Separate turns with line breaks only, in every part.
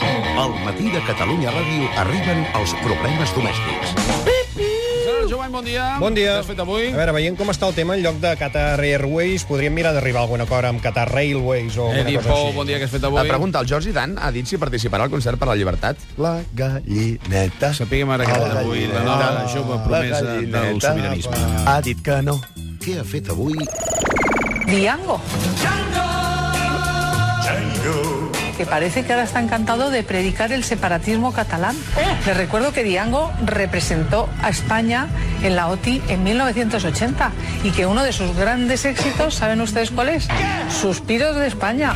Al matí de Catalunya Ràdio arriben els problemes domèstics.
Gerard Jovany, bon dia.
Bon dia.
Què has fet avui?
A veure, veient com està el tema, en lloc de Qatar Airways, podríem mirar d'arribar a algun acord amb Qatar Railways o alguna
Edi
cosa
Pou,
així.
bon dia, què has fet avui?
La pregunta, el Jordi Dan ha dit si participarà al concert per la llibertat?
La gallineta.
Sapiguem ara
Ah,
què ha fet
La
avui la
gallineta,
nova la jove promesa del sobiranisme.
Ha dit que no.
Què ha fet avui
Diango. Que parece que ahora está encantado de predicar el separatismo catalán. Les recuerdo que Diango representó a España en la OTI en 1980 y que uno de sus grandes éxitos, ¿saben ustedes cuál es? Suspiros de España.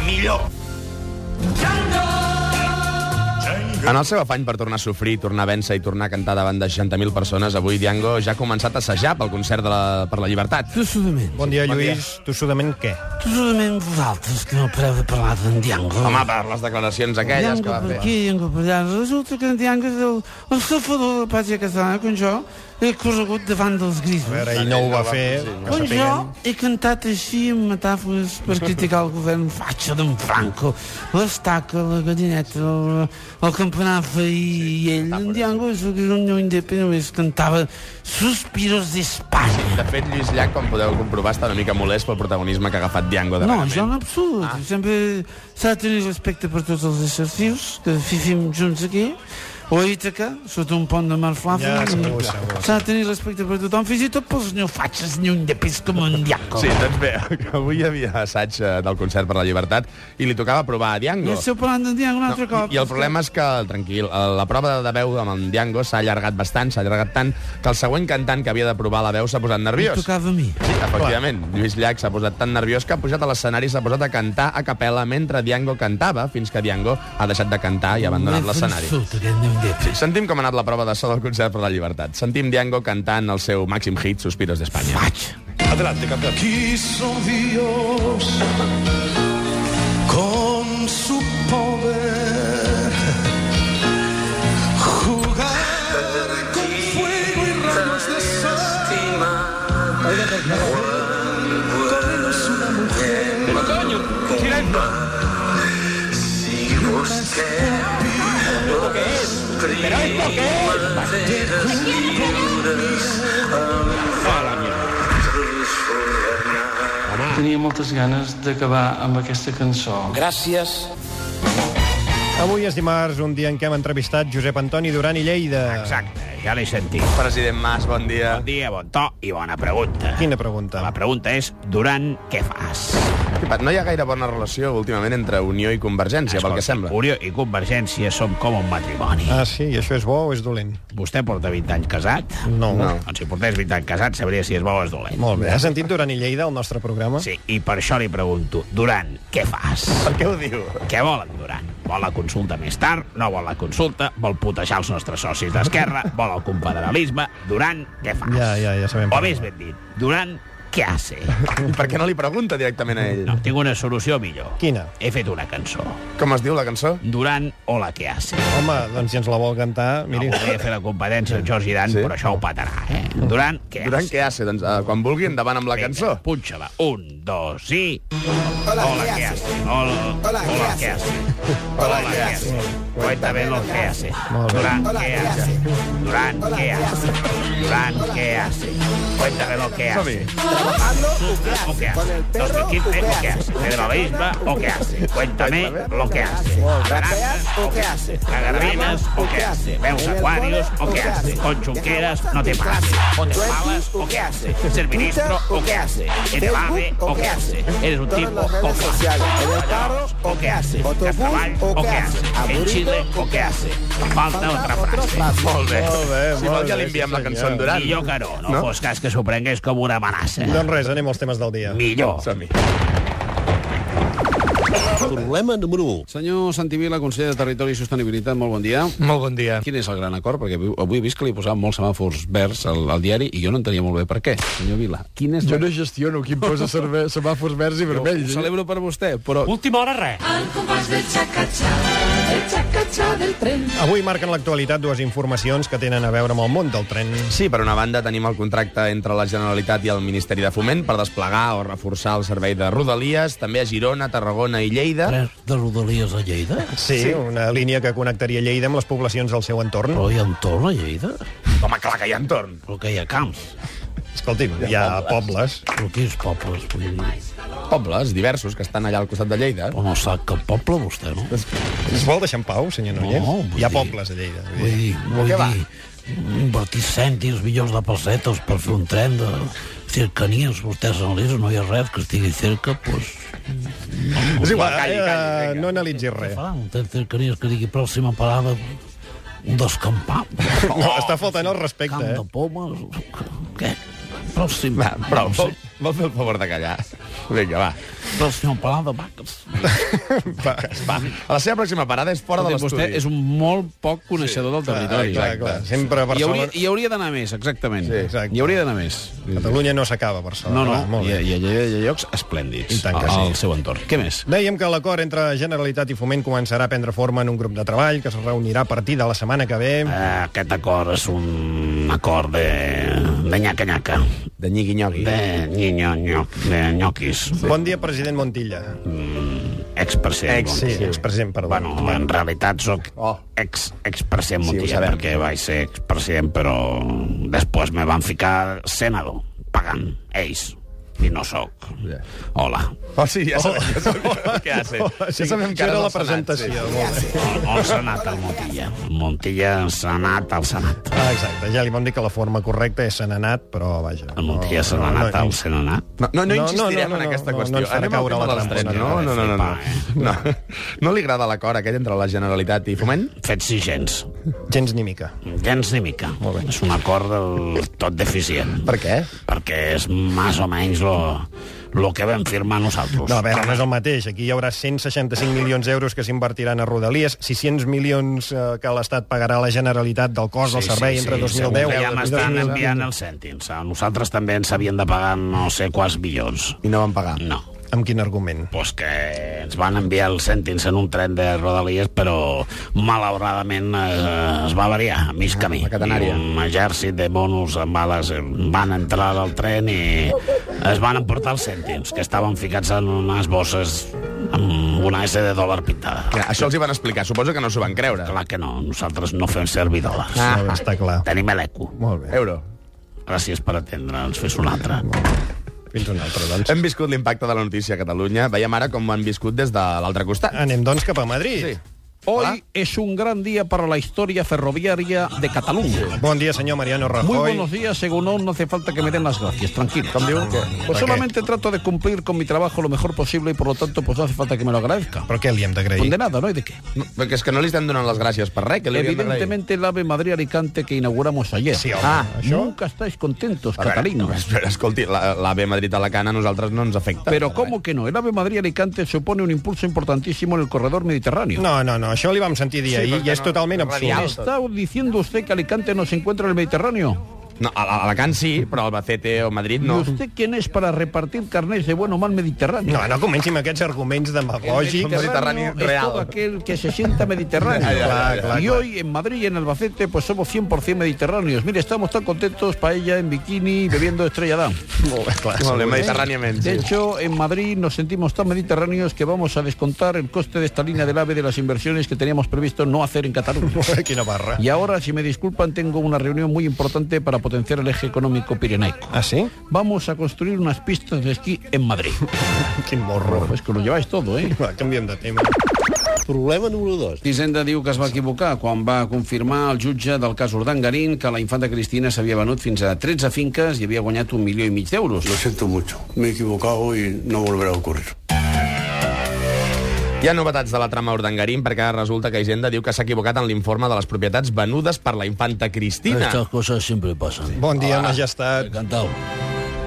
En el seu afany per tornar a sofrir, tornar a vèncer i tornar a cantar davant de 60.000 persones, avui Diango ja ha començat a assajar pel concert de la... per la llibertat.
Tossudament.
Bon dia, Lluís. Tu sudament què?
Totalment vosaltres que no pareu de parlar d'en Diango.
Home, per les declaracions aquelles que
Diango
va
per
fer.
aquí, Diango per allà. Resulta que en Diango és el, el safador de la pàtria catalana, com jo, he corregut davant dels grisos.
A veure, ell no ho va fer, que
Com Doncs jo
sapiguen.
he cantat així amb metàfores per criticar el govern fatxa d'en um Franco. L'estaca, la gallineta, el, el campanar feí i ell. En Diango és el que un lloc independent només cantava Suspiros d'Espanya.
De fet, Lluís Llach, com podeu comprovar, està una mica molest pel protagonisme que ha agafat Diango de
No, jo en absolut. Ah. Sempre s'ha de tenir respecte per tots els éssers vius que vivim junts aquí, o a Ítaca, sota un pont de mar flàfia.
Ja, segur, segur.
s'ha de tenir respecte per tothom, fins i tot pels neofatxes ni un de pis com un diaco.
Sí, doncs bé, que avui hi havia assaig eh, del concert per la llibertat i li tocava provar a Diango.
I esteu parlant d'en Diaco un altre
No,
cop.
I, I el problema és que, tranquil, eh, la prova de veu amb en Diango s'ha allargat bastant, s'ha allargat tant, que el següent cantant que havia de provar la veu s'ha posat
Em
nerviós.
tocava a mi.
Sí, efectivament. Lluís Llach s'ha posat tan nerviós que ha pujat a l'escenari i s'ha posat a cantar a capella mentre Diango cantava, fins que Diango ha deixat de cantar i ha abandonat
M'he
l'escenari.
fensut, aquest ni un de pis.
Sentim com ha anat la prova de so del concert per la llibertat. Sentim Diango cantant el seu màxim hit, Suspiros d'Espanya.
Faig.
Adelante, Qatar.
Quiso Dios con su poder jugar con fuego y rayos de sal. Cuando eres una mujer,
Tenia moltes ganes d'acabar amb aquesta cançó.
Avui és dimarts, un dia en què hem entrevistat Josep Antoni Duran i Lleida.
Exacte, ja l'he sentit.
President Mas, bon dia.
Bon dia, bon to i bona pregunta.
Quina pregunta?
La pregunta és, Duran, què fas?
No hi ha gaire bona relació últimament entre Unió i Convergència, pel que sembla.
Unió i Convergència som com un matrimoni.
Ah, sí? I això és bo o és dolent?
Vostè porta 20 anys casat?
No.
No.
Doncs si portés 20 anys casat, sabria si és bo o és dolent.
Molt bé. Has sentit Duran i Lleida, el nostre programa?
Sí, i per això li pregunto, Duran, què fas?
Per què ho diu?
Què volen, Duran? Vol la consulta més tard? No vol la consulta? Vol putejar els nostres socis d'esquerra? Vol el confederalisme? Duran, què fas?
Ja, ja, ja sabem.
O més ben dit, Duran, què hace?
I per què no li pregunta directament a ell?
No, tinc una solució millor.
Quina?
He fet una cançó.
Com es diu la cançó?
Duran o la que hace.
Home, doncs si ens la vol cantar,
No
miri...
volia fer la competència al Jordi Dan,
Sí?
sí? però això ho petarà, eh? Duran, què
Durant
hace?
què hace? Doncs uh, quan vulgui endavant amb la cançó.
Punxa-la. Un, dos i... Hola, ¿qué hace? Hola, hola, ¿qué hace? Hola, ¿qué hace? Cuéntame lo que hace.
Molt bé.
Durán, ¿qué hace? Durán, ¿qué hace? Durán, ¿qué hace? Cuéntame lo que hace. ¿O qué hace? 2015, ¿o qué hace? ¿Federalismo o qué hace? Cuéntame lo que hace. ¿Naranjas o qué hace? ¿Cagarrinas o qué hace? ¿Veus acuarios o qué hace? ¿Con chunqueras no te pases? ¿O te pagas o qué hace? ¿Ser ministro o qué hace? ¿En ave o qué hace? ¿Eres un tipo o qué hace? Treballadors, o què hace? Treball, o què hace? En Xile, o què hace? Em falta otra frase. Molt bé.
Molt bé,
Si vol ja li enviem la cançó en Durant.
Millor que no, no,
No?
no? fos cas que s'ho prengués com una amenaça.
Doncs res, anem als temes del dia.
Oh.
Millor.
Som-hi.
Problema número 1.
Senyor Santivila, conseller de Territori i Sostenibilitat, molt bon dia.
Molt bon dia.
Quin és el gran acord? Perquè avui- avui he vist que li posaven molts semàfors verds al, al diari i jo no entenia molt bé per què. Senyor Vila, quin és...
Jo
el-
no gestiono qui em posa serve- semàfors verds i
Ho
vermells. eh?
celebro per vostè, però...
Última hora, res.
Al compás del chacacha, el chacacha.
marcha del tren.
Avui marquen l'actualitat dues informacions que tenen a veure amb el món del tren.
Sí, per una banda tenim el contracte entre la Generalitat i el Ministeri de Foment per desplegar o reforçar el servei de Rodalies, també a Girona, Tarragona i Lleida.
De Rodalies a Lleida?
Sí, sí, una línia que connectaria Lleida amb les poblacions del seu entorn.
Però hi ha entorn a Lleida?
Home, clar que hi ha entorn.
Però que hi ha camps.
Escolti'm, hi ha pobles.
Però quins pobles, vull dir?
Pobles diversos que estan allà al costat de Lleida.
Home, sap que poble vostè, no?
Es vol deixar en pau, senyor Noller?
No, vull
hi ha
dir-
pobles a Lleida.
Vull dir, vull
què va?
dir invertir cèntims, milions de pessetes per fer un tren de cercanies, vostès analitzen, no hi ha res que estigui cerca, doncs...
És igual,
calli, calli,
eh, no analitzis res.
Faran un tren de cercanies que digui pròxima parada un descampat,
No, està faltant el
camp
respecte,
de
eh?
pomes... Què? Pròxima,
Va, prou, vol, vol fer el favor de callar. Vinga, va.
pròxima parada, vaques.
Va,
Va, a la seva pròxima parada és fora de
Escolti, Vostè
l'estudi.
és un molt poc coneixedor del territori.
clar, clar, sempre
Hi hauria,
Barcelona...
hi hauria d'anar més, exactament.
Sí, exacte.
Hi hauria d'anar més.
Catalunya no s'acaba, Barcelona.
No, no,
Ah, molt
hi ha,
bé.
hi ha, hi ha llocs esplèndids
I tant que
al,
sí.
seu entorn. Què més?
Dèiem que l'acord entre Generalitat i Foment començarà a prendre forma en un grup de treball que es reunirà a partir de la setmana que ve.
Eh, aquest acord és un acord de... de nyaca-nyaca,
De nyigui-nyogui.
de nyi-nyo-nyo, de nyoquis.
Bon dia, president Montilla.
Ex-president.
Ex, sí, expresident, perdó.
Bueno, en realitat sóc ex, expresident
Sí, ho
Montilla,
sabem.
perquè vaig ser expresident, però després me van ficar senador, pagant, ells, i no sóc. Hola.
Oh, sí, ja sabem, ja sabem què hace.
sí,
Ja sabem que
això
ara
Oh. era
és
la
el Senat, sí.
presentació. Molt bé.
On, on s'ha anat el Montilla? El Montilla s'ha anat al Senat.
Ah, exacte, ja li vam dir que la forma correcta és se n'ha anat, però vaja.
El Montilla se n'ha
Oh,
anat al Senat.
No, no, no,
No, no,
insistirem
no, no,
en aquesta
no, no
qüestió.
ens farà
Anem al
caure
tema
la
dels
trampa,
trens.
no,
No, no, no, no. no. No,
flipar,
no li agrada l'acord aquest entre la Generalitat i Foment?
Fets i gens.
Gens ni mica.
Gens ni mica. És un acord del tot deficient.
Per què?
Perquè és més o menys lo, lo que vam firmar nosaltres.
No, a veure, no és el mateix. Aquí hi haurà 165 milions d'euros que s'invertiran a Rodalies, 600 milions eh, que l'Estat pagarà a la Generalitat del cost del servei entre
segur que
2010
Ja
i
m'estan
2020.
enviant els cèntims. A nosaltres també ens havien de pagar no sé quants milions.
I no van pagar.
No.
Amb quin argument?
Pues que ens van enviar els cèntims en un tren de Rodalies, però malauradament eh, es va variar a
Ah,
mig camí.
la catenària.
I un exèrcit de bonus amb bales eh, van entrar al tren i es van emportar els cèntims, que estaven ficats en unes bosses amb una S de dòlar pintada.
Ja, això els hi van explicar. Suposo que no s'ho van creure.
Clar que no, nosaltres no fem servir dòlars.
Ah. No, està clar.
Tenim l'eco.
Molt bé.
Euro.
Gràcies per atendre'ns, fes un altre.
Fins un altre, doncs.
Hem viscut l'impacte de la notícia a Catalunya. Veiem ara com ho han viscut des de l'altre costat.
Anem, doncs, cap a Madrid.
Sí.
Hoy es un gran día para la historia ferroviaria de Cataluña.
Bon dia, senyor Mariano Rajoy.
Muy buenos días, según no, no hace falta que me den las gracias, tranquilo. Pues
Ah, ¿Por qué?
solamente trato de cumplir con mi trabajo lo mejor posible y por lo tanto pues no hace falta que me lo agradezca.
Però què li hem d'agrair?
Condenado, ¿no? ¿Y de qué?
No, perquè és que no li estem donant les gràcies per res, que li hauríem d'agrair.
Evidentemente el AVE Madrid-Alicante que inauguramos ayer.
Sí, home,
Ah,
això...
Nunca estáis contentos,
A veure,
Catalina.
pues,
Espera, escolti, la- l'AVE Madrid-Alacant a nosaltres no ens afecta.
pues,
Pero
eh.
¿cómo que no? El AVE Madrid-Alicante supone un impulso importantísimo en el corredor mediterráneo.
No, no, no, això li vam sentir dir ahir i és totalment absurd.
¿Está diciendo usted que Alicante no se encuentra en el Mediterráneo?
No, a a Alacant sí, però Albacete o Madrid no.
¿Y usted quién es para repartir carnés de bueno o mal mediterráneo?
No, no comenci amb aquests arguments
El
demagògics.
mediterráneo
es
real.
todo aquel que se sienta mediterráneo.
Ya, ya, ya, ya.
y hoy en Madrid y en Albacete pues somos 100% mediterráneos. Mire, estamos tan contentos paella en bikini bebiendo estrella Damm.
Molt bé, clar.
Molt bé, mediterràniament.
De
Sí.
hecho, en Madrid nos sentimos tan mediterráneos que vamos a descontar el coste de esta línea del AVE de las inversiones que teníamos previsto no hacer en Cataluña.
Quina barra.
Y ahora, si me disculpan, tengo una reunión muy importante para potenciar el eje económico pirenaico.
Ah, sí?
Vamos a construir unas pistas de esquí en Madrid.
Quin morro.
Pues que lo lleváis todo, ¿eh?
Va, canviem de tema.
Problema número 2.
Hisenda diu que es va equivocar quan va confirmar el jutge del cas Urdangarín que la infanta Cristina s'havia venut fins a 13 finques i havia guanyat un milió i mig d'euros.
Lo siento mucho. Me he equivocado y no volverá a ocurrir.
Hi ha novetats de la trama Urdangarín perquè ara resulta que Hisenda diu que s'ha equivocat en l'informe de les propietats venudes per la infanta Cristina.
Estas cosas siempre pasan.
Bon dia, majestat.
Encantado.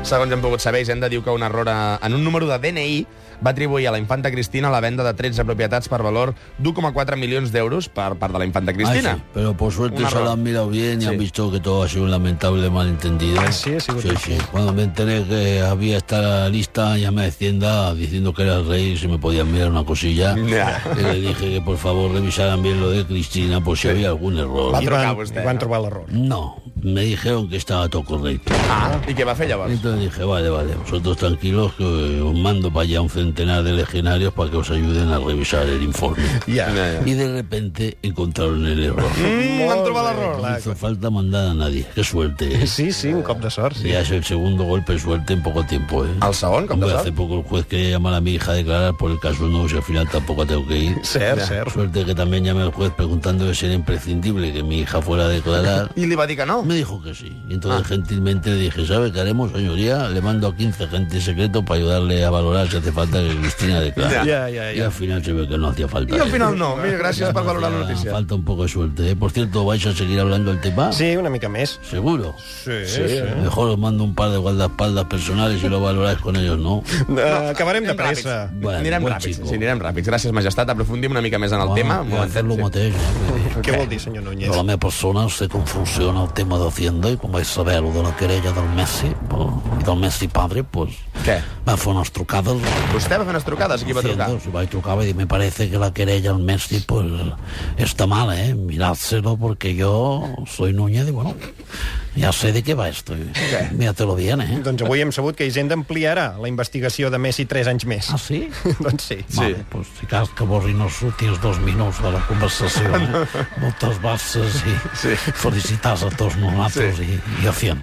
Segons hem pogut saber, Hisenda diu que un error a- en un número de DNI va atribuir a la infanta Cristina la venda de 13 propietats per valor d'1,4 milions d'euros per part de la infanta Cristina.
Ah, sí, pero por suerte
Una
se lo
roba.
han mirado bien y han visto que todo ha sido un lamentable malentendido.
Ah, sí, ha sido
sí,
todo.
sí. Cuando me enteré que había esta lista, llamé a Hacienda diciendo que era el rey, si me podían mirar una cosilla. Y le dije que por favor revisaran bien lo de Cristina por si había algún error.
I van, i van trobar l'error.
No, me dijeron que estaba todo correcto.
Ah, ¿y qué va a hacer llavors?
Entonces dije, vale, vale, vosotros tranquilos que os mando para allá un centenar de legionarios para que os ayuden a revisar el informe. Y de repente encontraron el error.
Mm,
han trobat l'error.
No hizo falta mandar a nadie. Qué suerte. ¿eh?
Sí, sí, un cop de sort. Sí.
Ya es el segundo golpe de suerte en poco tiempo, ¿eh?
Al sabón,
Hombre, hace poco el juez quería llamar a mi hija a declarar por el caso no, si al final tampoco tengo que ir.
Ser, ser.
Suerte que también llamé al juez preguntándole si era imprescindible que mi hija fuera a declarar.
I li va dir que no?
Me dijo que sí. Y entonces gentilmente le dije, ¿sabe qué haremos, señoría? Le mando a 15 agentes secretos para ayudarle a valorar si hace falta que Cristina declare.
Ya, ya, ya.
Y al final se ve que no hacía falta.
I al
¿eh?
final no. Mira, gràcies per valorar la notícia.
Falta un poco de suerte. ¿eh? Por cierto, ¿vais a seguir hablando del tema?
Sí, una mica més.
¿Seguro?
Sí, sí. sí.
Mejor os mando un par de guardaespaldas personales y lo valoráis con ellos, ¿no?
No, Eh, acabarem de pressa.
Bueno,
anirem
bon
ràpids,
xico.
sí, anirem ràpids. Gràcies, majestat. Aprofundim una mica més en el tema. Un
Voy a hacer
momentet,
lo
sí.
mateix, eh?
Què vol dir, senyor Núñez?
Però la meva persona se confusiona el tema d'Hacienda i quan vaig saber lo de la querella del Messi pues, i del Messi padre, pues,
Què?
va fer unes trucades.
Vostè va fer unes trucades? Qui va trucar?
Hacienda, si vaig trucar va dir, me parece que la querella del Messi pues, está mal, eh? Mirádselo porque yo soy Núñez y bueno, ya sé de qué va esto. ¿eh?
Què?
Míratelo bien, eh?
Doncs avui hem sabut que Hisenda ampliarà la investigació de Messi 3 anys més.
Ah, sí?
doncs sí.
Vale, pues, si cas que borrin els últims dos minuts de la conversació. Eh? Moltes gràcies i sí. felicitats a tots nosaltres sí. i, i a Fient.